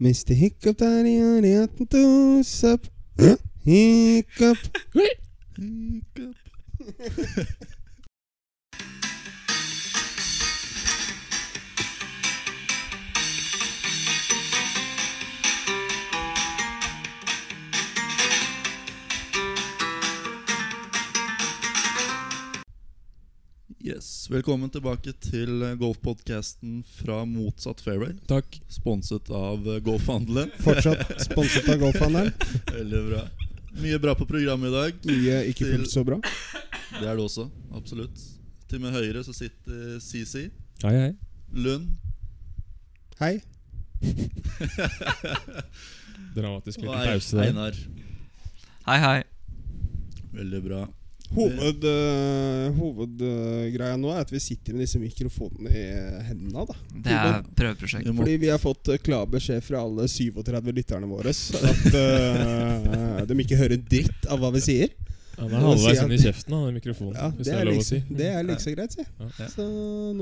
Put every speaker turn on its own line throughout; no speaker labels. Mr. Hiccup daddy on the out and toes up. Hiccup. Hiccup.
Yes, Velkommen tilbake til eh, golfpodcasten fra motsatt fairway.
Takk.
Sponset av eh, Golfhandelen.
Fortsatt sponset av Golfhandelen.
Veldig bra. Mye bra på programmet i dag.
Mye ikke fullt så bra.
Det er det også. Absolutt. Til min høyre så sitter CC
Hei, hei.
Lund.
Hei.
Dramatisk
Og
liten
Ei-
pause der.
Einar.
Hei, hei.
Veldig bra.
Hoved, øh, hovedgreia nå er at vi sitter med disse mikrofonene i hendene. da
Det er prøveprosjekt.
Vi må,
Fordi vi har fått øh, klar beskjed fra alle 37 lytterne våre så at øh, de ikke hører dritt av hva vi sier.
Han
Jeg
er
må si
halvveis
at-
inn i kjeften, han, den mikrofonen.
Ja,
hvis
det, er
lov
liksom,
å si.
det er like så greit, si.
Ja.
Så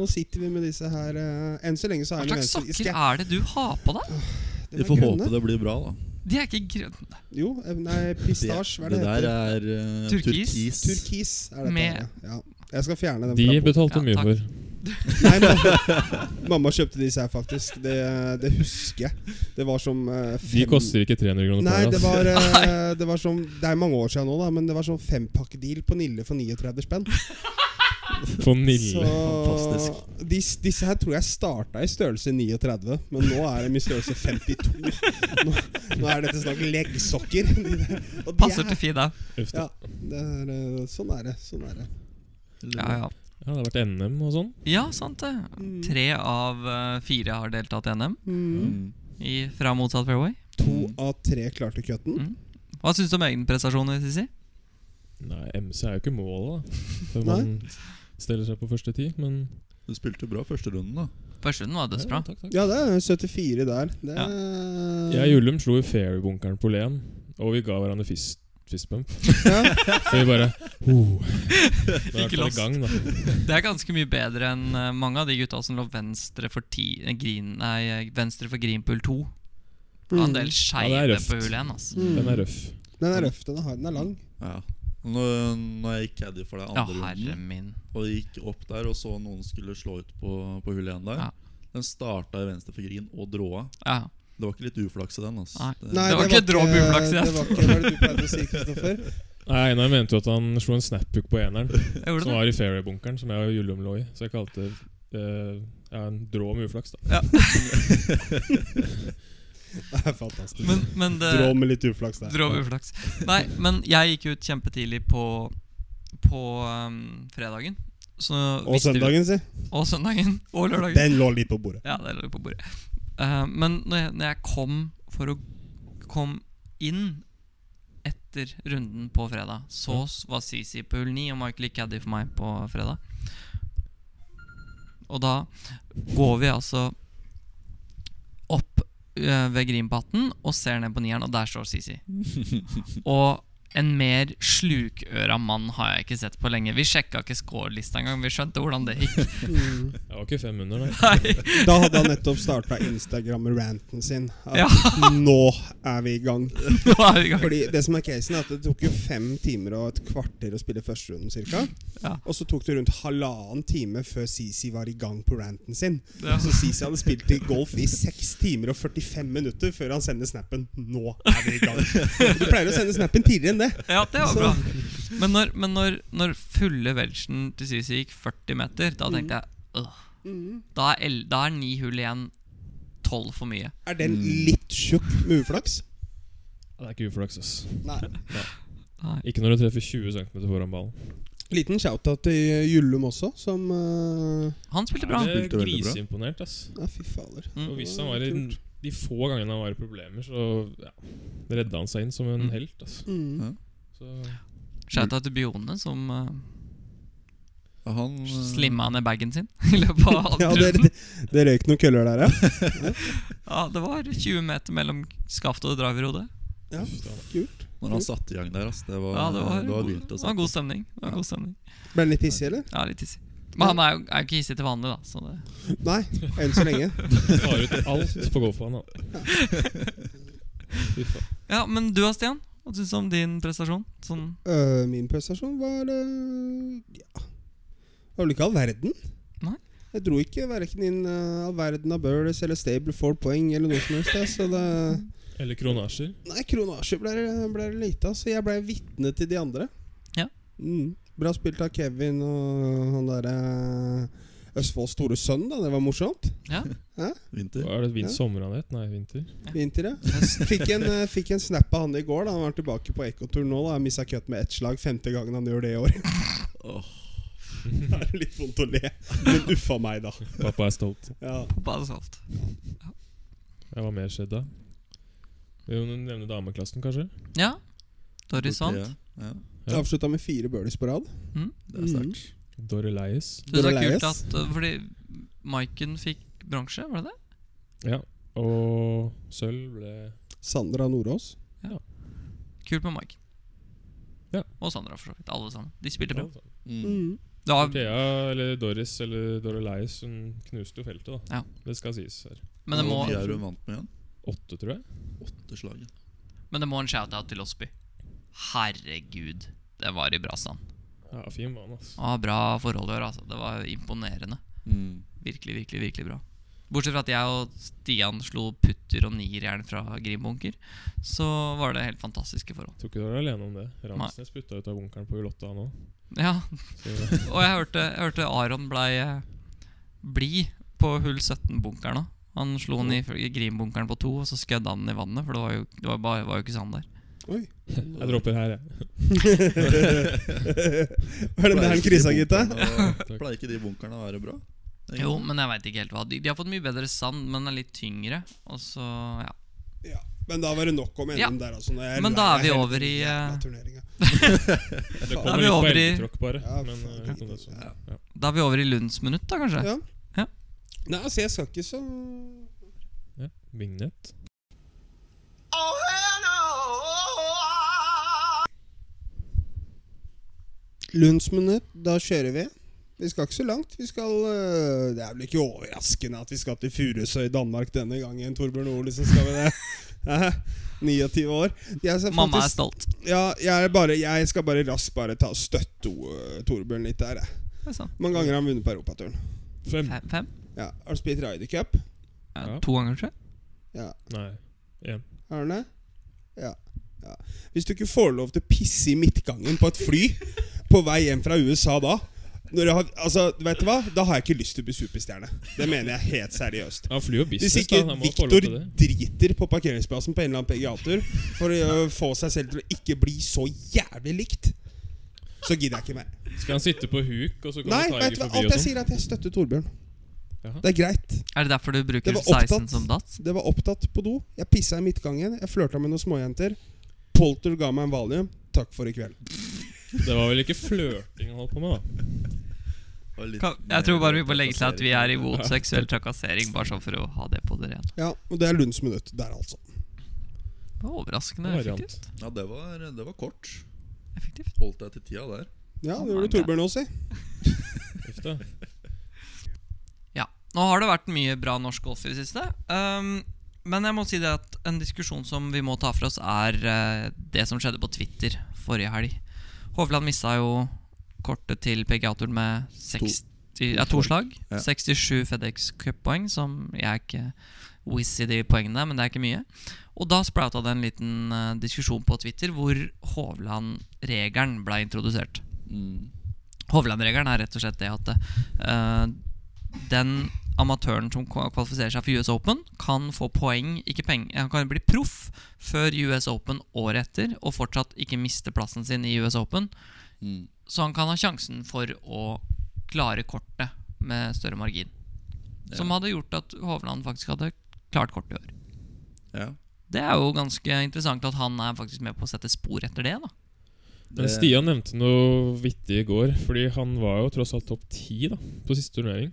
nå sitter vi med disse her eh, Enn så lenge så
Hva
er
slags sokker er det du har på deg?
De
vi
er
får
grønne.
håpe det blir bra, da.
De er ikke grønne.
Jo, eh, nei, pistasje, hva er det det
der
heter?
er eh,
Turkis.
turkis.
Turkis er dette.
Med-
her, Ja. Jeg skal fjerne den
De
fra bordet.
betalte
Ja,
mye
takk.
for.
Nei, mamma, mamma kjøpte disse her, faktisk. Det, det husker jeg. Det var som eh, fem
De koster ikke 300 kroner
Nei, det
per.
var, eh, det var som Det er mange år siden nå, da, men det var sånn fempakkedeal på Nille for 39 spenn.
For
Så
Nille.
dis- disse her tror jeg starta i størrelse 39, men nå er de i størrelse 52. Nå, nå er dette snakk leggsokker. De der- og de
Passer
er-
til Fi, det.
Uff da.
Ja, det er, eh, sånn er det. Sånn er det.
Veldig
Ja,
bra.
ja.
Ja, det har vært NM og sånn.
ja, sant det. Tre av eh, fire har deltatt i NM
Mm.
Mm.
i, fra motsatt fairway. Mm.
To av tre klarte cutten.
Hva syns du om egen prestasjon? vil jeg si?
Nei, MC er jo ikke målet, da. Før man steller seg på første ti, men
Du spilte bra første runden, da.
Første runden var dødsbra.
Ja, takk, takk.
Ja, det er 74 der. Det er,
Jeg og Jullum slo i fairbunkeren på Len, og vi ga hverandre fist, fistbump.
Ja.
Så vi bare oh. Det er
Ikke
i hvert fall i
lost.
gang, da.
Det er ganske mye bedre enn eh, mange av de gutta som lå venstre for, ti, eh, green, nei, eh, venstre for green pool 2. Det var en del skeive
Ja, det er røft.
på hull 1. Altså.
Mm.
Den er røff.
Den er røff, den er hard, den er lang.
Ja. Nå, nå gikk Caddy for deg
Ja,
andre
herre
runden.
min.
Og gikk opp der og så noen skulle slå ut på, på hull igjen der.
Ja.
Den starta i venstre for green og dråa.
Ja.
Det var ikke litt uflaks i den. ass.
Nei.
Det-
Nei,
Det var ikke drå med uflaks, ja.
Det var ikke hva er det du pleide å si, Kristoffer.
Nei, Einar mente jo at han slo en snaphook på eneren.
Jeg gjorde
Som
det.
var i fairway-bunkeren, som jeg og Jullum lå i. Så jeg kalte det eh, ja, en drå med uflaks, da.
Det er fantastisk.
Men, men det,
Drå med litt uflaks der.
Drov uflaks. Nei, men jeg gikk ut kjempetidlig på, på um, fredagen. Så
Og
visste vi-
søndagen, si.
Og søndagen. Og lørdagen.
Den lå litt på bordet.
Ja, det lå på bordet. Eh, men når jeg, når jeg kom for å kom inn etter runden på fredag, så s- var CC på hull 9 og Michael gikk caddy for meg på fredag. Og da går vi altså opp eh, ved Grimbatten og ser ned på nieren, og der står CC. og en mer slukøra mann har jeg ikke sett på lenge. Vi sjekka ikke scorelista engang. Vi skjønte hvordan det gikk.
Mm.
Jeg var ikke 500, nei.
Nei.
Da hadde han nettopp starta Instagram-ranten sin. At
Ja.
nå er vi i gang.
Nå er vi i gang.
Fordi det som er casen er at Det tok jo fem timer og et kvarter å spille førsterunden. Cirka.
Ja.
Og så tok det rundt halvannen time før CC var i gang på ranten sin.
Ja.
Så CC hadde spilt i golf i 6 timer og 45 minutter før han sender snappen. Nå er vi i gang. Du pleier å sende snappen tidligere enn det.
Ja, det var
Så-
bra. Men når, men når, når fulle vegen til Sisi gikk 40 meter, da tenkte jeg «Åh,
Mm.
da, er el, da er ni hull igjen 12 for mye.
Er den litt tjukk med uflaks?
Det er ikke uflaks, ass.
Nei.
Ikke når du treffer 20 cm foran ballen.
Liten shout-out til Jullum også, som eh,
Han spilte bra. Mm.
Jeg
spilte veldig
er
bra.
griseimponert, ass.
Ja, fy fader.
Og hvis han var i de få gangene han var i problemer, så ja, redda han seg inn som en
Mm.
helt, ass.
Mm.
Så
Shouta til Bione, som uh,
Ja, Han eh,
slimma ned bagen sin i løpet av
Ja,
andre
det,
runden.
det røyk noen køller der, ja.
Ja, det var 20 meter mellom skaft og driverhodet.
ja.
uff da.
Kult.
Når han satte i gang der, ass, det var,
Ja, det var,
det var vilt altså. å
det
se
var
på.
god stemning. Det var god stemning.
Ble han litt hissig, eller?
Ja, litt hissig. Men han er jo er jo ikke hissig til vanlig, da. Så det.
Nei, enn så lenge.
Tar ut alt på golfbanen. da. Fy faen.
Ja, Men du da, Stian? Hva syns du om din prestasjon? Sånn,
Øh, min prestasjon var øh, Ja Det var vel ikke all verden.
Nei.
Jeg dro ikke verken inn øh, all verden av Burles eller Stable for poeng eller noe som helst. jeg, Så det
Eller kronasjer.
Nei, kronasje ble, ble det lite av, så jeg ble vitne til de andre.
Ja.
Mm. Bra spilt av Kevin og han derre eh, Østfolds store sønn, da. Det var morsomt.
Vinter.
Hva er det
Ja.
vind sommer han het? Nei, vinter.
Vinter, ja. Fikk en, eh, fikk en snap av han i går. da Han var tilbake på Ekotur nå. da Missa cut med ett slag. Femte gangen han gjør det i år. Det er litt vondt å le, men uffa meg, da.
Pappa er stolt.
Ja.
bare salt.
Ja, Hva mer skjedde da? Vi må nevne dameklassen, kanskje.
Ja. Doris vant.
Ja,
Ja.
Avslutta med fire burleys på rad.
det er sterkt.
Doreleies.
Syns det var
Doris
kult at uh, Fordi Maiken fikk bronse, var det det?
Ja. Og sølv ble
Sandra Nordås.
Kult med Maiken.
Ja.
Og Sandra, for så vidt. Alle sammen. De spilte bra.
Thea,
Mm.
Det var
eller Doris eller Doreleies, hun knuste jo feltet, da.
Ja.
Det skal sies her.
Men det, må,
Hvor mye er hun vant med igjen?
Åtte, tror jeg.
Åtte slaget.
men det må en shout-out til Osby. Herregud, det var i bra stand.
Ja, fin mann, altså.
Ah, bra forhold i år, altså. Det var imponerende.
Mm.
Virkelig, virkelig, virkelig bra. Bortsett fra at jeg og Stian slo putter og nierjern fra Grimbunker, så var det helt fantastiske forhold.
Tror ikke du er alene om det. Ramsnes putta ut av bunkeren på Ulotta nå.
Ja,
Så
Og jeg hørte, jeg hørte Aron blei eh, blid på hull 17-bunkeren òg. Han slo han i f- i Grimbbunkeren på to, og så skødde han den i vannet. For det var jo, det var bare, var jo ikke sand der.
Oi.
jeg dropper her, jeg.
Var det der han kryssa, gutta?
Takk.
Pleier ikke de bunkerne å være bra? egentlig?
Jo, men jeg veit ikke helt hva. De, de har fått mye bedre sand, men er litt tyngre. Og så, ja.
Ja. Men da var det nok om NM
Ja.
der, altså. Når jeg
Men
lei
da er
meg
vi
hele
over i,
jævla
eh,
turneringen.
Det
Da er
kommer
vi
litt på
over i-
elgetråkk, bare.
Ja,
men
faen.
eh, kom det sånn.
Ja.
Ja.
Da er vi over i Lundsminutt, da, kanskje.
Ja.
Ja.
Nei, altså, jeg skal ikke så
Ja. Vignett.
Lundsminutt, da kjører vi. Vi skal ikke så langt. Vi skal øh, Det er vel ikke overraskende at vi skal til Furusøy, Danmark denne gangen, Torbjørn Olesen. Skal vi det? Hæ? 29 år. Jeg skal
Mamma er
faktisk-
stolt.
Ja, jeg, er bare, jeg skal bare raskt bare ta og støtte øh, Torbjørn litt der. jeg.
Det er sant.
Hvor mange ganger har han vunnet på europaturen?
Fem.
Fem? fem?
Ja. Har han spilt Ryder Cup?
Ja,
Ja.
To ganger, tror jeg.
Ja.
Nei. Én.
Har han det? Ja. ja. Hvis du ikke får lov til å pisse i midtgangen på et fly på vei hjem fra USA da når jeg har, altså, vet du hva? Da har jeg ikke lyst til å bli superstjerne. Det mener jeg helt seriøst.
Han flyr jo
Hvis
business,
ikke
da. Han må få lov
Victor
til det.
driter på parkeringsplassen på en eller annen PGA-tur for å øh, få seg selv til å ikke bli så jævlig likt, så gidder jeg ikke mer.
Skal han sitte på huk, og så
Nei,
kommer
vet
Tiger
du hva?
forbi
Alt
og
jeg
sånn?
sier, er at jeg støtter Torbjørn.
Jaha.
Det er greit.
Er det derfor du
Det
bruker
var
16
opptatt.
som dats?
Det var opptatt på do. Jeg pissa i midtgangen. Jeg flørta med noen småjenter. Polter ga meg en valium. Takk for i kveld.
Det var vel ikke flørting han holdt på med, da.
Og litt
Kan- Jeg tror bare vi
mer
må legge til at vi er
plassering.
imot seksuell trakassering, bare sånn for å ha det på det rene.
Ja, og det er Lunds minutt der, altså.
Det var Overraskende
Variant.
effektivt.
Ja, det var, det var kort.
effektivt.
Holdt deg til tida der.
Ja, det gjorde Torbjørn også, si.
Uff da.
Ja. Nå har det vært mye bra norsk golf i det siste. Um, men jeg må si det at en diskusjon som vi må ta for oss, er eh, det som skjedde på Twitter forrige helg. Hovland mista jo kortet til PGA-turen med 60, ja, to slag.
Ja.
67 FedEx Cup-poeng, som jeg er ikke whiz i de poengene, men det er ikke mye. Og da sprouta det en liten eh, diskusjon på Twitter hvor Hovland-regelen ble introdusert.
Mm.
Hovland-regelen er rett og slett det at eh, den amatøren som kva- kvalifiserer seg for US Open, kan få poeng, ikke penger Han kan bli proff før US Open året etter og fortsatt ikke miste plassen sin i US Open.
Mm.
Så han kan ha sjansen for å klare kortet med større margin.
Ja.
Som hadde gjort at Hovland faktisk hadde klart kortet i år.
Ja.
Det er jo ganske interessant at han er faktisk med på å sette spor etter det. da
Eh.
Men Stian nevnte noe vittig i går, fordi han var jo tross alt topp ti da, på siste turnering.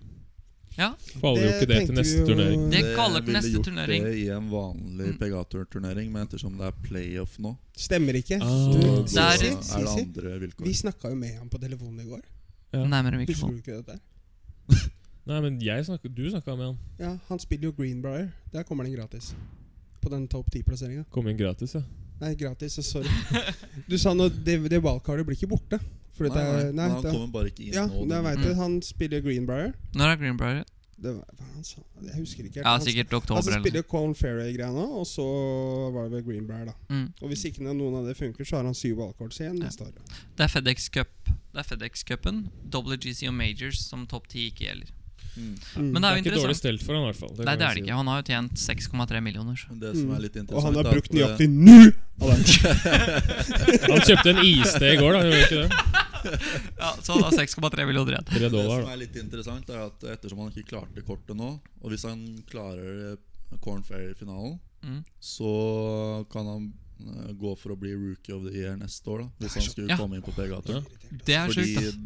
Ja.
Faller jo
Det
ikke det
tenkte
til
vi
neste
jo-
turnering.
Det kaller til
ville
neste
gjort
turnering.
Det i en vanlig
Mm.
PGA-turnering, men ettersom det er playoff nå,
Stemmer ikke.
Ah.
Du,
så
Der-
Sisi,
er liksom- det
Sisi.
andre vilkår.
Vi snakka jo med ham på telefonen i går.
Ja.
Nærmere
Husker du
mikrofonen.
ikke dette?
Nei, men jeg snakka, du snakka med han.
Ja, Han spiller jo Greenbrier. Der kommer den gratis. På den topp 10-plasseringa.
Kom inn gratis, ja.
Nei, gratis. så Sorry. Du sa nå det, det wildcardet blir ikke borte. Fordi
Nei, nei,
det er, nei,
men han
det,
kommer bare ikke inn
ja,
nå.
det
du.
vet
Mm.
jeg. Han spiller Greenbrier.
Når er Greenbrier?
Det var, hva han sa? Jeg husker ikke. helt.
Ja,
Han-
sikkert
Han
oktober.
som
eller noe
spiller Colin Ferry-greia nå, og så var det vel Greenbrier, da.
sånt. Mm.
Og hvis ikke noen av det funker, så har han syv wildcards igjen
Ja.
neste år.
Det er FedEx Cup Det er FedEx Cupen, WGC og Majors som topp 10 ikke gjelder.
Mm.
Mm.
Men det er jo
ikke dårlig
interessant.
stelt for han, i hvert fall.
Nei,
kan jeg
det er det
si.
ikke. Han har jo tjent 6,3 millioner. så.
Men Det som
Mm.
er litt
og
interessant
han har
er at,
brukt
eh,
nøyaktig NU! av den.
Han kjøpte en iste i går, da. Gjorde han ikke det?
Ja, Så han har 6,3 millioner igjen.
Tre
Det
dollar.
som
da.
er litt interessant, er at ettersom han ikke klarte kortet nå, og hvis han klarer eh, Corn Ferry-finalen,
Mm.
så kan han eh, gå for å bli rookie of the year neste år, da, hvis han skulle
Ja.
komme inn på PGA.
Ja.
Det er sjukt.
Fordi
ass.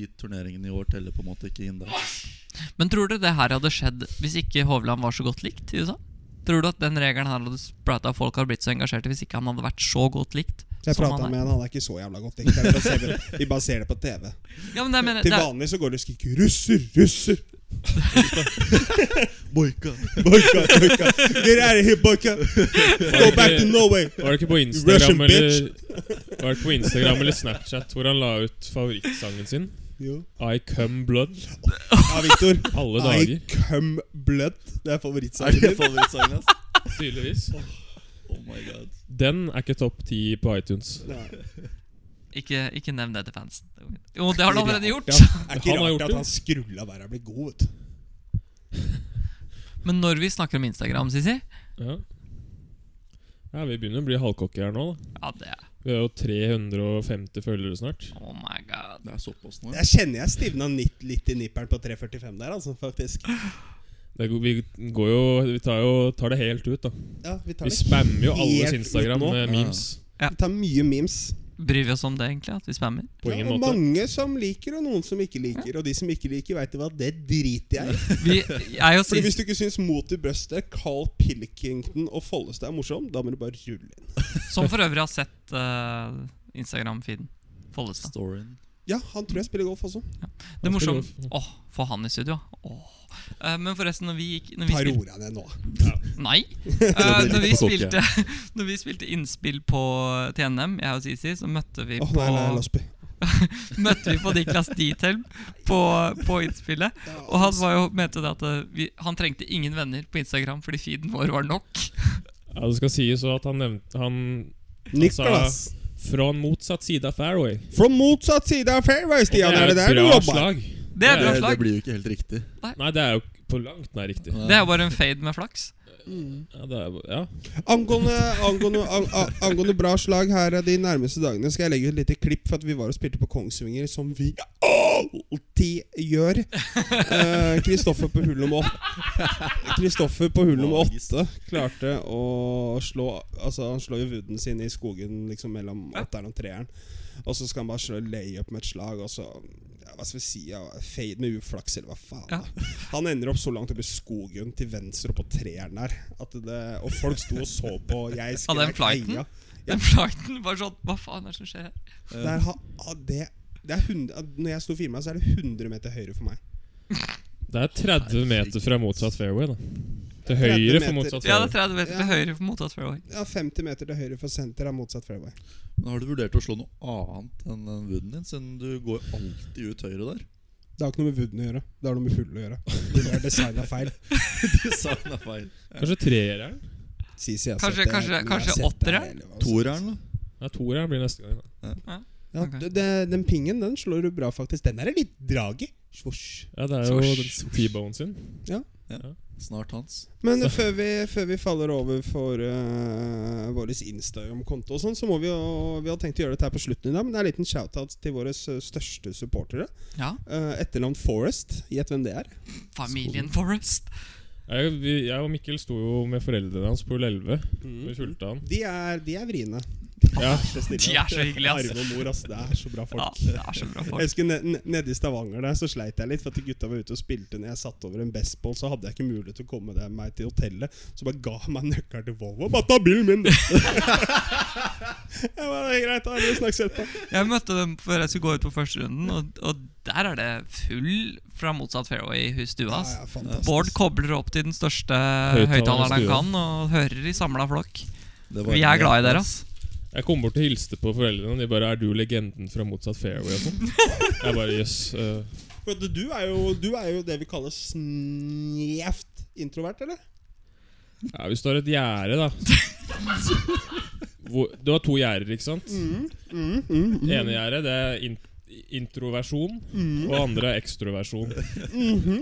de turneringene i år teller på en måte ikke innendørs.
Men tror dere det her hadde skjedd hvis ikke Hovland var så godt likt i USA? Tror du at den regelen her hadde sprata folk hadde blitt så engasjerte hvis ikke han hadde vært så godt likt?
Jeg
som
prata
han
med
er?
han, han er ikke så jævla godt. likt. Det er bare å se vel- Vi bare ser det på TV.
Ja, men det, men,
Til
det,
vanlig så går det og skriker 'russer, russer'.
Boika!
Boyka, boyka. Get out of here, boyka. Go back to Norway.
Var det ikke på
Russian
Instagram eller
bitch.
Var det ikke på Instagram eller Snapchat hvor han la ut favorittsangen sin?
Jo.
I Come Blood.
Ja, Victor.
Alle
I
dager,
come blood. Det er
Er
favorittsangen
det
din.
favorittsangen hans?
tydeligvis.
Oh my god.
Den er ikke topp ti på iTunes.
Nei.
ikke, ikke nevn det til fansen. Jo, det har han allerede gjort.
Ja, er ikke
Han har
rart
gjort
at
det.
han skrulla hver og ble god, vet du.
Men når vi snakker om Instagram, Sisi
Ja. ja, vi begynner å bli halvkokke her nå, da.
Ja, det er
Vi har jo 350 følgere snart.
Oh my god.
Det er såpass nå. ja.
Jeg kjenner jeg stivna nitt- litt i nipperen på 3.45 der, altså, faktisk.
Det går, vi går jo Vi tar, jo, tar det helt ut, da.
Ja, vi tar
Vi
det.
spammer jo alles
helt ut
Instagram
nå.
med memes.
Vi tar mye memes.
Bryr vi oss om det, egentlig? At vi spammer?
På
Ja,
ingen
og
måte.
mange som liker, og noen som ikke liker. Og de som ikke liker, veit du hva, det driter jeg i.
Vi, jeg og
Fordi Hvis du
Sisi
ikke syns Mot i brøstet, Carl Pilkington og Follestad er morsom, da må du bare rulle inn.
Som for øvrig har sett eh, Instagram-feeden. Follestad.
Storyen.
Ja, han tror jeg spiller golf også.
Det er
Han spiller
morsomt.
golf.
Åh, få han i studio. Åh. Eh, men forresten, når vi gikk når vi
Tar
spilte-
orda ned nå.
Nei.
blir
Eh,
litt
når, vi
for cocky.
spilte, når vi spilte innspill på eh, TNM, jeg og Sisi, så møtte vi
Åh,
på,
nei, nei, la oss be.
møtte vi på Niklas Diethelm på, på innspillet. Og han var jo, mente jo det at eh, vi, han trengte ingen venner på Instagram fordi feeden vår var nok.
Ja, det skal sies også at han nevnte Han Altså-
Nicholas!
fra en motsatt side av fairway.
Fra motsatt side av fairway,
Og
Stian! Er det der
et
du
bra
jobber?
slag.
Det er
Det
Det,
bra
det
slag.
blir jo ikke helt riktig.
Nei, det er jo på langt nær riktig.
Det er jo bare en fade med flaks.
Ja, det er, ja.
Angående, angående, ang, ang- angående bra slag her eh, de nærmeste dagene, skal jeg legge ut et lite klipp for at vi var og spilte på Kongsvinger, som vi alltid gjør. Eh, Kristoffer på hull nummer åtte Kristoffer på hull nummer åtte klarte å slå Altså Han slår jo wooden sin i skogen liksom mellom åtteren og treeren. Og så skal han bare slå layup med et slag, og så ja, Hva skal vi si? Ja, fade med uflaks, eller hva faen.
Ja.
Han ender opp så langt oppe i skogen til venstre og på treeren der. At det, og folk sto og så på. Jeg
Ja, den
skrek
flighten?
heia. Ja.
Den flighten var sånn Hva faen er det som skjer her?
Der ha, ah, det, det er 100, når jeg sto og filma, så er det 100 meter høyre for meg.
det er 30 meter fra motsatt fairway, da.
30
Til høyre
meter.
for motsatt
Ja, det er
fairway.
30 meter
Ja.
til høyre for mottatt fairway.
Ja, 50 meter til høyre for senter er motsatt fairway.
Men har du vurdert å slå noe annet enn den wooden din, siden du går jo alltid ut høyre der?
Det har ikke noe med wooden å gjøre. Det har noe med hullet å gjøre. Det er designa feil.
Design er feil.
Kanskje treeren?
Sisi, jeg har
Kanskje-
sett det.
kanskje-
Jeg har
kanskje
sett det
åttere?
hele-
Toeren, da?
Ja, toeren blir neste gang. Da.
Ja,
Ok.
det, det, den pingen den slår du bra, faktisk. Den er det litt drag i. Svosj.
Ja, det er jo
Svosj,
den T-bone sin.
Snart hans.
Men før vi, før vi faller over for uh, vår Instagram-konto, og sånn, så må vi jo Vi har tenkt å gjøre dette her på slutten i dag, men det er en liten shout-out til våre s- største supportere.
Ja,
Uh, Etternavn Forest. Gjett hvem det er?
familien Forest.
Jeg, vi,
Mm.
jeg og Mikkel sto jo med foreldrene hans på Ull 11. Vi fulgte han.
De er, de er vriene. Ja, så snille.
De er så hyggelige, ass.
Arve og mor, ass. Det er så bra folk.
Ja, det er så bra
Jeg
folk.
husker ne- ne- Nede i Stavanger der så sleit jeg litt, for at gutta var ute og spilte. Når jeg satt over en bestball, så hadde jeg ikke mulighet til å komme det- meg til hotellet. Så bare ga han meg nøkkelen til Volvo. Bare ta bilen min! jeg bare, det er greit, da. Vi snakkes etterpå.
Jeg møtte dem før jeg skulle gå ut på første runden, og, og der er det full fra motsatt fairway i stua.
Ja,
ass.
ja, fantastisk.
Bård kobler opp til den største
Høyttaleren i
høyttaleren han
stua.
kan, og hører i samla flokk.
Det var
Vi er glad i dere, ass.
Jeg kom bort og hilste på foreldrene, og de bare 'Er du legenden fra motsatt fairway?' og sånn. Jeg bare 'jøss'. øh,
For at du, er jo, du er jo det vi kaller snjevt introvert, eller?
ja, hvis du har et gjerde, da Hvor, Du har to gjerder, ikke sant?
Mm, mm, mm.
Ene gjerdet det er in introversjon, og andre er ekstroversjon.
Mhm.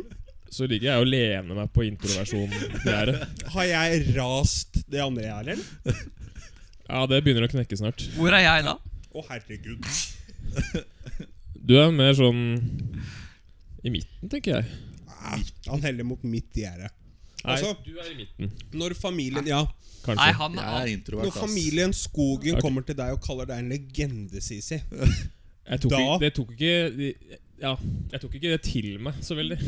Så ligger jeg og lener meg på introversjon-gjerdet.
Har jeg rast det andre jeg er, eller?
Ja, det begynner å knekke snart.
Hvor er jeg da?
Å, herregud.
Du er mer sånn i midten, tenker jeg.
Ah, han heller mot mitt gjerde.
Nei,
Altså-
du er i midten,
Når familien Ja.
kanskje.
Altså,
Nei, han,
Jeg
han
er
Når
introvert, ass.
familien Skogen
Ok.
kommer til deg og kaller deg en legende, Sisi
jeg tok,
Da-
ikke- det tok ikke de- Ja, jeg tok ikke det til meg så veldig.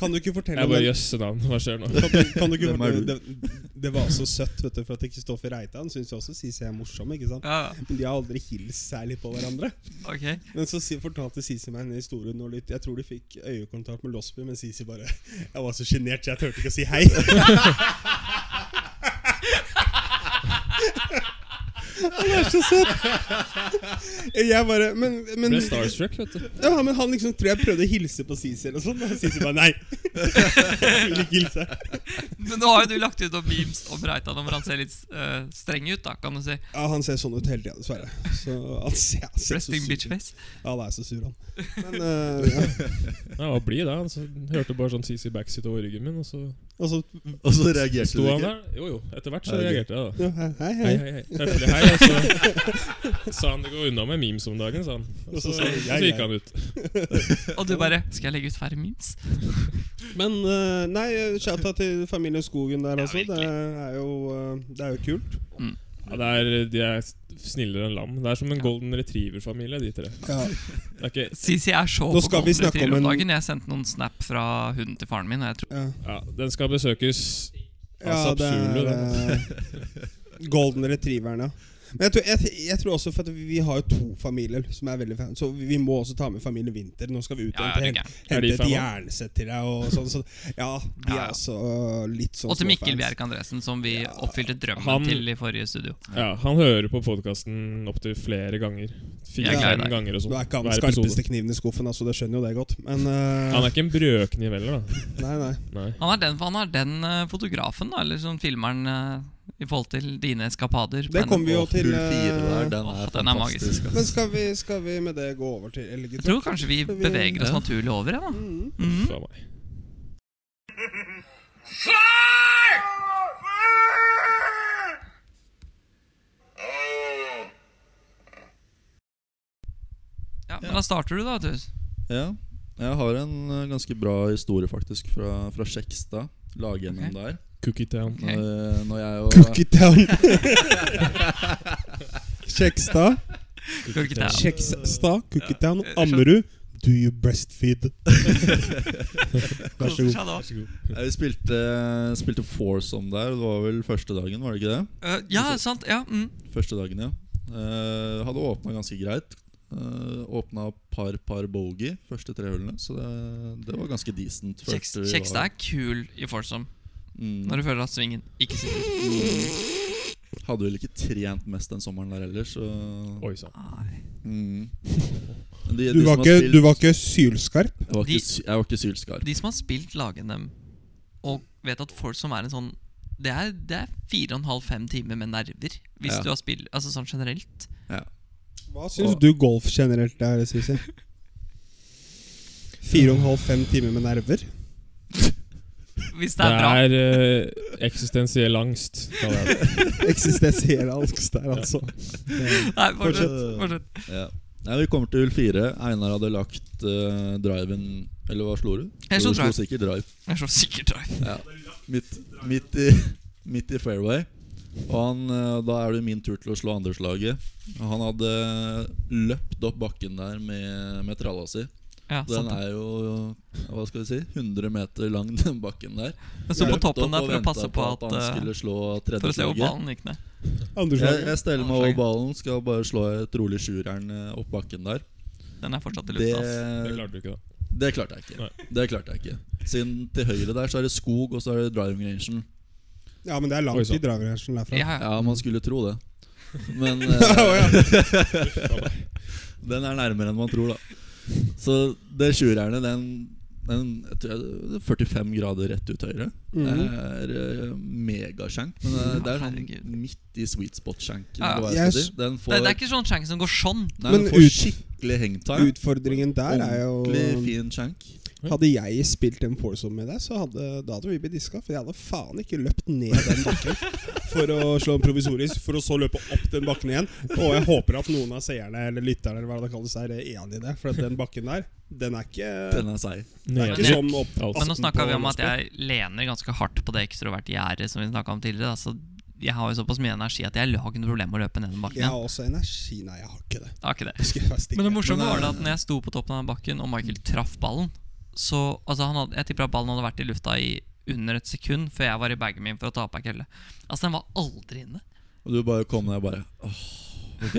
Kan du ikke fortelle
Jeg
om
bare
den-
Jøsse navn, hva skjer nå?
kan du, kan du ikke
Hvem er
fortelle, det, det var så søtt, vet du, for at Kristoffer Reitan syns jo også Sisi er morsom. ikke sant?
ja,
Men de har aldri hilst særlig på hverandre.
ok
Men så si- fortalte Sisi meg en historie nå litt. Jeg tror de fikk øyekontakt med Losby, men Sisi bare Jeg var så sjenert, så jeg turte ikke å si hei. Han er så søt! Jeg bare Men, men
Ble starstruck, vet du.
Ja, men han liksom tror jeg prøvde å hilse på Sisi eller sånn, og Sisi bare nei. Jeg vil ikke hilse.
Men nå har jo du lagt ut noen memes om Reitan om han ser litt eh, streng ut, da, kan du si.
Ja, han ser sånn ut hele tida, dessverre. Så han ser, han ser så sur
Resting
ut.
bitchface.
Ja, han er så sur, han. Men, eh, ja.
Jeg var blid da. Så altså? hørte bare sånn CC Backseat over ryggen min, og så
Og så
Og så reagerte
sto
du
han
ikke.
der. Jo jo, etter hvert
Ja,
så
ok.
reagerte jeg, da.
ja, hei, hei.
Hei, hei, hei. Høflig hei, og så sa han det går unna med memes om dagen, sa han. Og så,
sa han, «Jeg,
så
jeg».
gikk han ut.
Og du bare Skal jeg legge ut færre memes?
Men eh, nei, chatta til familien Skogen der,
Ja,
altså. Det er jo, eh, det er jo kult.
Ja, det er, de er snillere enn lam. Det er som en golden retriever-familie, de tre. Det er ikke
Sisi er så
Nå
på
skal vi
golden
snakke om
retriever om
en-
dagen. Jeg sendte noen snap fra hunden til faren min, og jeg tror
Ja,
Ja, den skal besøkes
ja
Altså,
det
absurd,
er eh, Golden retrieveren, ja. Men jeg tror, jeg, jeg tror også for at vi har jo to familier som er veldig fan, så vi må også ta med familien Winter. Nå skal vi ut
Ja,
igjen til
ja, det er gærent.
Er
hente
de
et
fan også?
jernsett til deg og sånn. Så, ja, de
Ja, ja.
er også eh, litt sånn
Og til Mikkel
småfans.
Bjerk Andresen, som vi oppfylte drømmen
Han-
til i forrige studio.
Ja, Han hører på podkasten opptil flere ganger.
Jeg er glad i
Fire-fem
deg.
ganger og sånn.
Nå er ikke han den
hver
skarpeste
episode.
kniven i skuffen, altså, det skjønner jo det godt. Men eh,
Han er ikke en brødkniv heller, da.
nei, nei.
Nei.
Han er den, han er den eh, fotografen, da, eller sånn filmeren, eh, i forhold til dine eskapader. på
Det
NRK.
kommer vi jo
Åh,
til
Hull fire
eh,
der, den er
Åh, den er magisk.
fantastisk. ass.
Men skal vi, skal vi med det gå over til Mm. Elgitor?
Jeg tror kanskje vi beveger oss naturlig over, ja. da. Mhm.
Faen meg.
ja. Men da starter du, da. Du.
Ja. Jeg har en eh, ganske bra historie, faktisk, fra, fra Skjekstad. Lag-NM
Ok.
der.
Cookie Town.
Ok.
Når, når jeg og
Cookie Town. Kjekstad.
Cookie Town.
Kjekstad. Cookie Town. Ammerud. Do you breastfeed? Vær så god.
Koser seg da.
Nei, Vi spilte, spilte foursome der, og det var vel første dagen, var det ikke det?
Eh, ja, sant. Ja. Mm.
Første dagen, ja. Eh, hadde åpna ganske greit. Uh, åpna par par bogey første tre hullene, så det, det var ganske decent. følte
Kjeks-
vi
Kjekstad
var.
er kul i Forsom
Mm.
når du føler at svingen ikke sitter.
Hadde vel ikke trent mest den sommeren der ellers, så
Oi sann.
Nei.
mm. De-
Du var
de som har
ikke,
spilt-
du var ikke sylskarp?
Jeg var
De-
ikke, sy- jeg var ikke sylskarp.
De som har spilt lagen dem, og vet at Forsom er en sånn Det er, det er fire og en halv, fem timer med nerver, hvis
Ja.
du har spilt Altså sånn generelt.
Hva syns du golf generelt er, Sisi? Fire og en halv, fem timer med nerver?
Hvis det
Det
er bra.
er eh, eksistensiell angst, kaller jeg det.
Eksistensiell angst der, altså.
Nei, fortsett.
Fortsett.
fortsett.
Ja. Nei, vi kommer til hull fire. Einar hadde lagt eh, driven Eller hva slo du?
Jeg slo
Jo, du
drive.
sikkert drive.
Jeg er så sikkert drive.
Ja. Midt, midt, i, midt i fairway. Og han, eh, da er det min tur til å slå andreslaget. Og Han hadde løpt opp bakken der med, med tralla si.
Ja,
Den
sant det.
er jo ja, hva skal vi si, 100 meter lang, den bakken der.
Jeg sto på
Løpt
toppen
opp
der
og
for å
ventet
passe på at
han
eh,
skulle slå
For å se hvor
tredjeslaget.
ballen gikk ned.
Jeg,
Anderslaget.
jeg steller meg over ballen, skal bare slå et rolig sjueren eh, opp bakken der.
Den er fortsatt i
Det,
lufta. ass.
Det klarte du ikke, da.
det klarte jeg ikke. Det klarte jeg ikke Siden til høyre der så er det skog, og så er det driving rangen.
Ja, men det er
Oi,
langt
sant.
i dragrensjen derfra.
Ja, ja.
Ja, man skulle tro det. Men eh,
Å, ja.
Den er nærmere enn man tror, da. Så det sjuerjernet, den, den jeg tror jeg, det er 45 grader rett ut høyre. Det
Mhm.
er eh, megashank, men det, er- det er
Herregud.
sånn midt i sweet spot-shanken.
Ja, ja.
Jeg s-
Den får,
Det, det er ikke sånn shank som går sånn.
nei, den
Men
får
ut-
skikkelig hangtime.
Utfordringen der er
Ordentlig
jo
fin shank.
Hadde jeg spilt en foursome med deg, så hadde, da hadde vi blitt diska. For jeg hadde faen ikke løpt ned den bakken for å slå en provisorisk, for å så løpe opp den bakken igjen. Og jeg håper at noen av seerne eller lytterne eller hva det kalles er enig i det. For at den bakken der, den er ikke,
Den er seig.
den er
Nedrykk.
ikke som opp
Altså.
Men nå snakka vi om at
Aften på
jeg lener ganske hardt på det ekstroverte gjerdet som vi snakket om tidligere. da, Så jeg har jo såpass mye energi at jeg har ikke noe problem med å løpe ned den bakken.
Jeg har
igjen.
også energi. Nei, jeg har ikke det.
Jeg har ikke det.
Jeg skal være stille.
Men det morsomme
Men,
var det
eh,
at når jeg sto på toppen av den bakken og Michael traff ballen, så altså han hadde, Jeg tipper at ballen hadde vært i lufta i under et sekund før jeg var i bagen min for å ta opp ei kølle. Altså, den var aldri inne.
Og du bare kom ned og bare åh, Ok?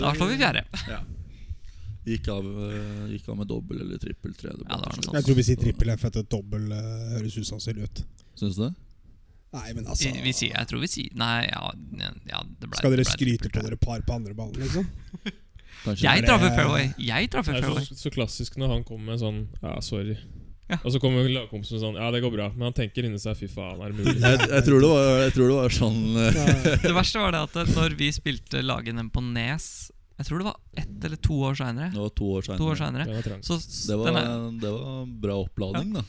Da slår vi fjerde.
Ja. Gikk av, eh, gikk av med dobbel eller trippel liksom. tre.
Ja, det var noe sånt.
Jeg tror vi sier trippel F etter dobbel eh, høres usannsynlig ut.
Syns du det?
Nei, men
Vi,
altså
vi sier, jeg tror vi sier Nei, ja, ja det ble,
Skal dere
det ble-
skryte på dere par på andre ballen, liksom?
Kanskje
Jeg
Er
traff
det-
en fairway. Jeg traff
Det
en
er
fairway.
så, så klassisk når han kommer med sånn Ja, sorry.
Ja.
Og så kommer lagkompisen med sånn Ja, det går bra. Men han tenker inni seg Fy faen, er det mulig?
jeg, jeg, tror det var, jeg tror det var sånn eh,
Det verste var det at eh, når vi spilte lagene på Nes Jeg tror det var ett eller to år seinere.
Det var to år
To år
seinere.
senere,
Den er trang.
Så s-
Det, var-
den er-
det var bra oppladning, da.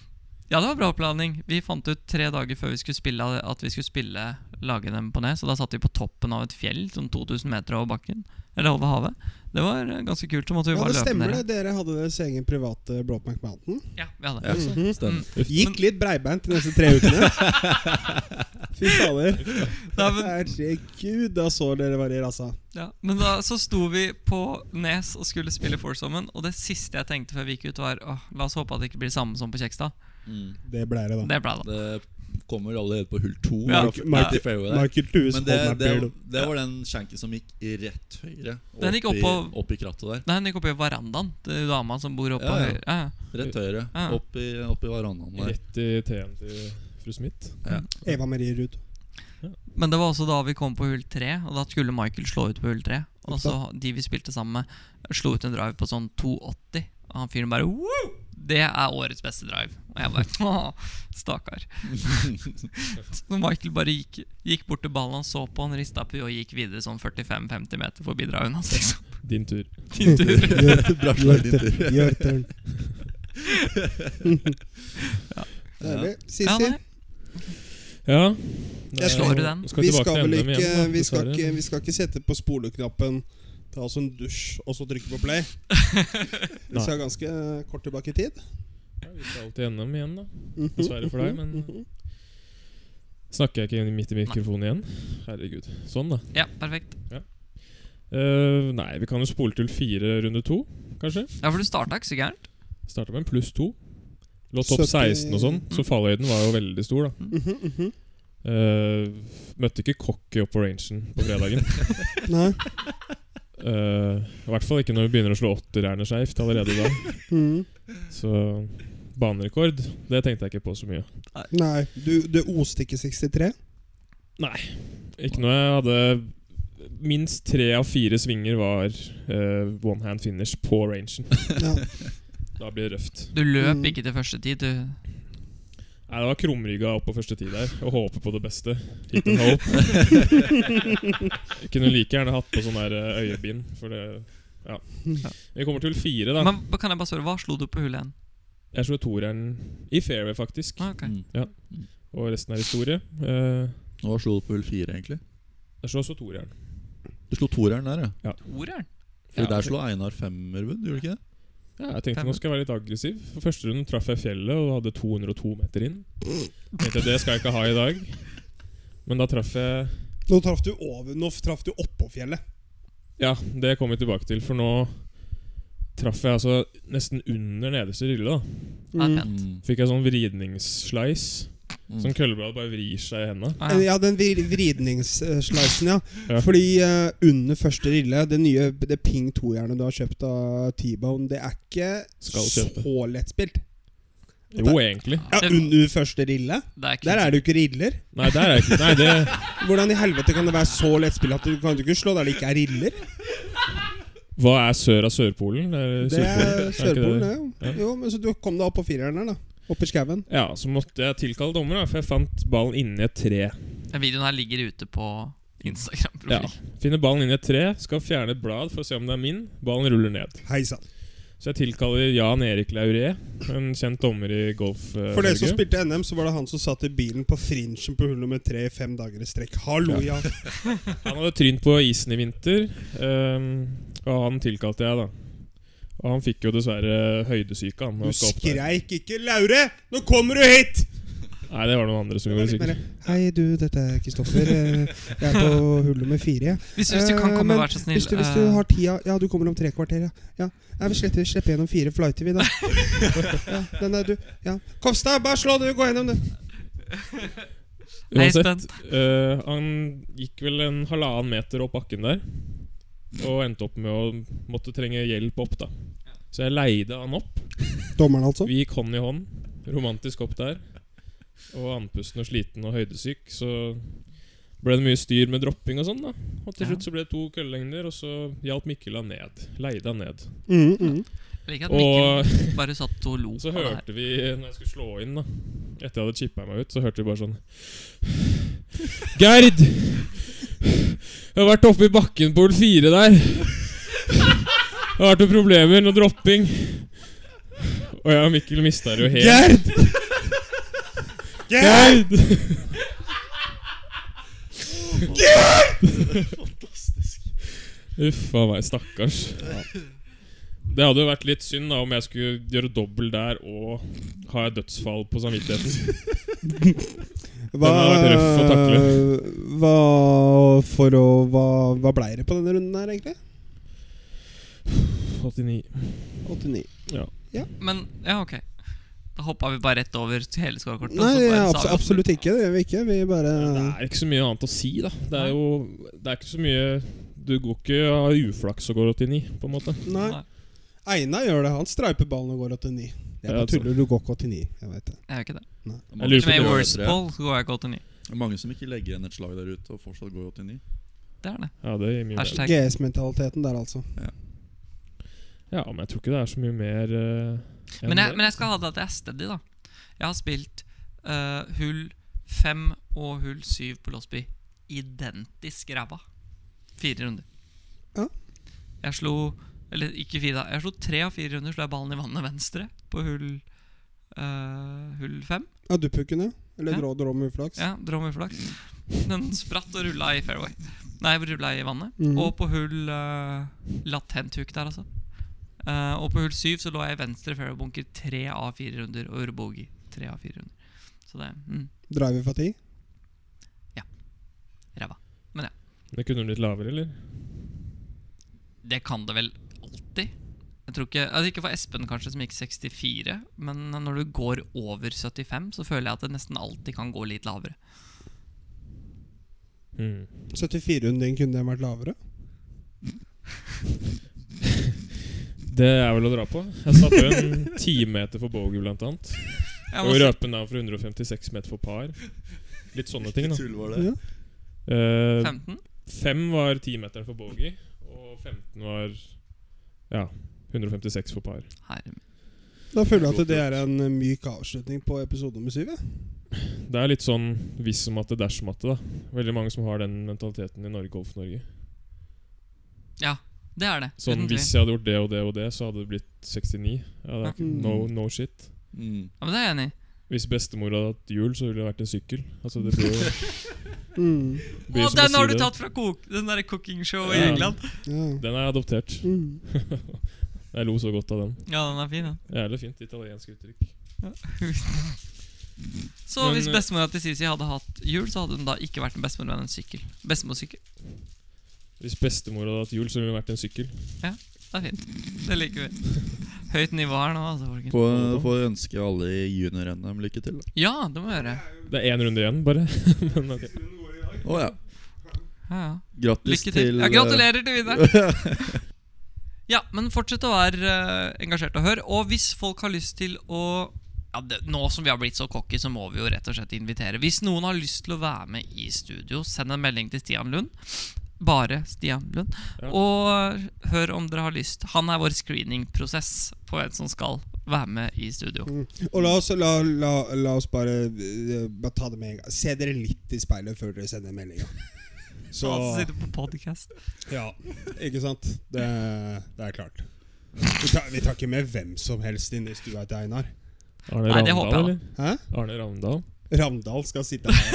Ja, det var bra oppladning. Vi fant ut tre dager før vi skulle spille at vi skulle spille lage dem på Nes. Og da satt vi på toppen av et fjell, sånn 2000 meter over bakken. Eller over havet. Det var eh, ganske kult. Så måtte vi
Ja,
bare
det
løpe
stemmer det.
ned.
Dere hadde deres egen private Brokeback Mountain.
Ja, vi hadde.
Ja, Altså,
Mhm.
stemmer.
Gikk litt breibeint de neste tre ukene. Fy fader.
Nei, men,
Herregud, da så dere hva de rasa.
ja. men da så sto vi på Nes og skulle spille Foursomen, og det siste jeg tenkte før vi gikk ut, var åh, la oss håpe at det ikke blir samme som på Kjekstad.
Mm.
Det blei det, da.
Det ble det.
Det kommer allerede på hull to.
Ja,
når det er
Mark-
i fairway der.
Michael Thues
Men
holdt
det,
meg
det,
beard.
det var den shanken som gikk i rett høyre.
Den gikk opp
i,
på-
opp i krattet der.
Nei, hun gikk opp i verandaen til dama som bor oppe.
Ja, ja.
Ja, ja.
Rett høyre.
Ja.
Opp i, opp i verandaen der.
Rett i teen til fru Smith.
Eva Marie Ruud.
Men det var også da vi kom på hull tre, og da skulle Michael slå ut på hull tre. Og så de vi spilte sammen med, slo ut en drive på sånn 2,80. Og han fyren bare Woo! Det er årets beste drive. Og jeg bare Åh, stakkar. så Michael bare gikk, gikk bort til ballen, han så på, han rista på og gikk videre sånn 45-50 meter forbi driven hans, liksom.
Din tur.
Din tur.
Bra slag, din tur.
Your turn. Deilig.
Ja,
Sissy,
nei.
Ja.
Jeg
slår i den.
vi skal vel
NM
ikke,
igjen, da,
vi skal
dessverre.
ikke, vi skal ikke sette på spoleknappen, ta oss en dusj og så trykke på play. Vi
Nei.
skal ganske kort tilbake i tid. Mhm.
Ja, vi skal alltid NM igjen, da. Dessverre for deg, men eh, Snakker jeg ikke midt i mikrofonen igjen? Herregud. Sånn, da.
Ja, perfekt.
Eh, nei, vi kan jo spole til fire runde to, kanskje.
Ja, for du starta ikke så gærent.
Starta med en pluss to. Lå topp
70
16 og sånn, så fallhøyden var jo veldig stor, da.
Mhm, mhm.
Eh, møtte ikke cocky opp på rangen på fredagen.
Nei.
Eh, I hvert fall ikke når vi begynner å slå åttererne skeivt allerede da.
Mhm.
Så banerekord, det tenkte jeg ikke på så mye.
Nei, du, du oste ikke 63?
Ikke noe jeg hadde Minst tre av fire svinger var eh, one hand finish på rangen.
Ja.
Da blir det røft.
Du løp
Mm.
ikke til første tid, du.
Nei, Det var krumrygga opp på første tid der og håpe på det beste. Hit and hope. Jeg Kunne like gjerne hatt på sånn der eh, øyebind, for det Ja. Vi kommer til fire, da.
Men kan jeg bare spørre, hva slo du på hull én?
Jeg slo toeren i fairway, faktisk.
Ah, ok.
Mm.
Og resten er historie. Eh,
Nå slo du på hull fire, egentlig.
Jeg slo også toeren.
Du slo toreren der, ja.
Oreren?
For
Ja,
der
ok.
slo Einar Femmerwood, gjorde du ikke det?
Ja, jeg tenkte nå skal jeg være litt aggressiv. For første runden traff jeg fjellet og hadde 202 meter inn. Tenkte det skal jeg ikke ha i dag. Men da traff jeg
Nå traff du over Nå traff du oppå fjellet.
Ja, det kommer vi tilbake til, for nå traff jeg altså nesten under nederste rille. da
Det er
Mm.
pent.
Fikk jeg sånn vridningssleis.
Mm.
Som køllebladet bare vrir seg i henda.
Ah, ja.
Ja, den vri- vridningssleisen, ja.
Ja.
Fordi eh, under første rille, det nye det Ping 2-jernet du har kjøpt av T-Bone, det er ikke
Skal kjøpe.
så lettspilt.
Jo, egentlig.
Ja,
Det-
under første rille?
Det
Der
er kult.
er det jo ikke riller.
Nei, der er jeg ikke Nei, det
Hvordan i helvete kan det være så lettspill at du kan du ikke slå der det ikke er riller?
Hva er sør av Sørpolen? Er
Det er
ikke
Sørpolen,
det?
det.
Ja.
jo. Jo, men så du kom deg opp på fireren her, da. Opp i skauen.
Ja, så måtte jeg tilkalle dommer, da, for jeg fant ballen inni et tre.
Den videoen her ligger ute på
Ja.
Instagram-profil.
Finner ballen inni et tre, skal fjerne et blad for å se om det er min. Ballen ruller ned.
Hei sann.
Så jeg tilkaller Jan Erik Lauré, en kjent dommer i golf. eh,
For dere som
Norge.
spilte NM, så var det han som satt i bilen på fringen på hull nummer tre i fem dager i strekk. Hallo, ja.
Han hadde trynt på isen i vinter, ehm, og han tilkalte jeg, da. Og han fikk jo dessverre høydesyke. Han, når
Du
han skal opp der.
skreik ikke 'Laure, nå kommer du hit!'
Nei, det var noen andre som
Det var
gjorde
litt
sikkert.
mer, Hei, du, dette er Kristoffer. Eh, Jeg er på hull nummer fire. jeg.
Hvis, hvis du kan
Eh,
komme,
men
vær så snill.
Hvis du, hvis du
eh,
har tida Ja, du kommer om tre kvarter, ja. ja. Nei, vi slipper, slipper gjennom fire flighter, vi, da. Ja, den er du. Ja. Kopstad, bare slå, du! Gå gjennom, du!
Jeg er
Uansett,
spent.
eh, han gikk vel en halvannen meter opp bakken der. Og endte opp med å måtte trenge hjelp opp, da. Så jeg leide han opp.
Dommeren, altså.
Vi gikk hånd i hånd, romantisk opp der. Og andpusten og sliten og høydesyk, så ble det mye styr med dropping og sånn, da. Og til
Ja.
slutt så ble det to køllelengder, og så hjalp Mikkel han ned. Leide han ned.
Mm, mm.
Jeg liker at
Og
Mikkel bare satt og lo
så
på det her.
hørte vi, når jeg skulle slå inn, da etter jeg hadde chippa meg ut, så hørte vi bare sånn Gerd! Jeg har vært oppe i bakken på hull fire der. Det har vært noen problemer, noe dropping. Og jeg og Mikkel mista det jo helt.
Gerd! Gerd!
Gerd! Uff a meg, stakkars. Det hadde jo vært litt synd da om jeg skulle gjøre dobbel der og ha et dødsfall på samvittigheten.
Hva,
Den har vært røff å
hva, for å, hva, hva blei det på denne runden her, egentlig?
89.
89.
Men ja, ok. Da hoppa vi bare rett over til hele scorekortet. og
Nei,
så bare
abs
sa vi oss-
absolutt ikke. Det gjør vi ikke. Vi bare
Det er ikke så mye annet å si, da. Det er jo Det er ikke så mye Du går ikke av uflaks og går 89, på en måte.
Nei.
Nei.
Einar gjør det. Han streiper ballen og går 89. Jeg
Ja, altså.
bare tuller, du går ikke 89. Jeg vet det.
Jeg gjør ikke det.
Jeg lurer
Til og med i
på
worst ball så går jeg ikke 89.
Det er mange som ikke legger igjen et slag der ute og fortsatt går 89.
Det er det.
Ja, det gir mye mer.
Hashtag.
GS-mentaliteten der, altså.
Ja, men jeg tror ikke det er så mye mer eh, enn
Men jeg,
det.
men jeg skal ha det at jeg er steady, da. Jeg har spilt eh, hull fem og hull syv på Losby identisk ræva. Fire runder.
Ja.
Jeg slo Eller ikke fire, da. Jeg slo tre av fire runder, slo jeg ballen i vannet venstre på hull eh, Hull fem.
Ja, Duppukken, ja. Eller
Ja.
drå, drå med uflaks.
Ja, drømmeflaks.
Mm.
Den spratt og rulla i fairway. Nei, rulla i vannet.
Mhm.
Mm.
Og på hull eh, latent hook der, altså. Eh, og på hull syv så lå jeg i venstre fairwaybunker tre av fire runder, og gjorde bogey tre av fire runder. Så det mm,
Driver fra ti.
ræva.
Det kunne du litt lavere, eller?
Det kan det vel alltid. Jeg tror ikke, altså ikke for Espen, kanskje, som gikk 64, men når du går over 75, så føler jeg at det nesten alltid kan gå litt lavere.
Mm.
74-runden din kunne den vært lavere.
Det er vel å dra på. Jeg satte jo en timeter for bogey, blant annet.
Jeg
Og
må si-
røpen navn for 156 meter for par. Litt sånne ting, da.
Tull var
Ja.
det.
Eh,
15?
fem var 10-meteren for bogey, og 15 var ja, 156 for par.
Herre min.
Da føler jeg at det er en eh, myk avslutning på episode nummer syv. Ja.
Det er litt sånn hvis om at det dersom at det, da. Veldig mange som har den mentaliteten i Norge, Golf Norge.
Ja, det er det.
Sånn
uten tvil.
hvis jeg hadde gjort det og det og det, så hadde det blitt 69. Ja, det er ikke, no, no shit.
Mm.
Ja, men Det er jeg enig i.
Hvis bestemor hadde hatt hjul, så ville det vært en sykkel. Altså, det blir jo
Mm.
blir
Å,
som å
den
si
har du
det.
tatt fra kok den der cooking show i
Ja.
England.
Ja.
Den er adoptert.
Mm.
Jeg lo så godt av den.
Ja, den er fin, den.
Jævlig fint italiensk uttrykk.
Så
Men,
hvis
eh,
bestemora til Sisi hadde hatt hjul, så hadde hun da ikke vært en bestemor, men en sykkel. Bestemorsykkel.
Hvis bestemor hadde hatt hjul, så ville det vært en sykkel.
Det er fint. Det liker vi. Høyt nivå her nå, altså, folkens.
Får, får ønske alle i junior-NM lykke til. da.
Ja, det må vi gjøre.
Det er én runde igjen, bare. Men ok.
Å ja.
Ja, ja.
Grattis
Lykke til.
til
Ja,
eh,
gratulerer til vinneren. Ja, men fortsett å være eh, engasjert og hør. Og hvis folk har lyst til å ja, det, Nå som vi har blitt så cocky, så må vi jo rett og slett invitere. Hvis noen har lyst til å være med i studio, send en melding til Stian Lund. Bare Stian Lund.
Ja.
Og hør om dere har lyst. Han er vår screeningprosess på hvem som skal være med i studio.
Og la oss, la, la, la oss bare, eh, bare ta det med en gang. Se dere litt i speilet før dere sender meldinga. Så
Han som Altså, sitter på podcast.
Ja, ikke sant? Det, det er klart. Vi tar, vi tar ikke med hvem som helst inn i stua til Einar.
Arne
Nei, det håper jeg
Ravndal,
da.
eller?
Hæ?
Arne Ravndal.
Ramdal skal sitte her.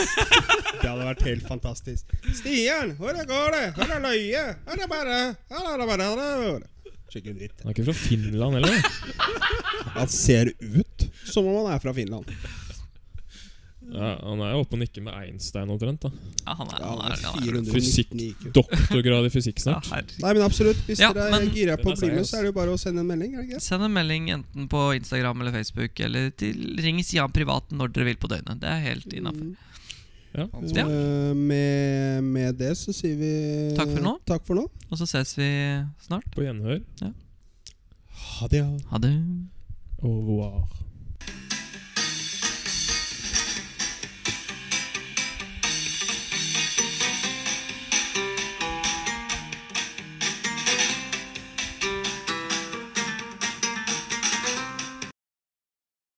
Det hadde vært helt fantastisk. Stian, hvordan går det? Hvordan er løyet? Hvordan er bare? Hvordan er bare? Hvordan er bare? Skikkelig dritt.
Han er ikke fra Finland heller.
Han ser ut som om han er fra Finland.
Ja, han er jo oppe og nikker med Einstein omtrent. da
Ja, han er,
Ja,
han
han
er,
er
han er.
419 i IQ.
Doktorgrad i fysikk
Ja,
snart.
herregud.
Nei, men absolutt. Hvis
Ja,
dere er
men-
gira på å
Den er
bli med,
seriøs.
så er det jo bare å sende en melding. Er det greit?
Send en melding enten på Instagram eller Facebook, eller til ring Sian privat når dere vil på døgnet. Det er helt innafor.
Mm.
Ja.
Han
Ja.
Eh, Med, med det så sier vi
Takk for nå.
Takk for nå.
Og så ses vi snart.
På gjenhør.
Ha det.
Ha det.
Au revoir.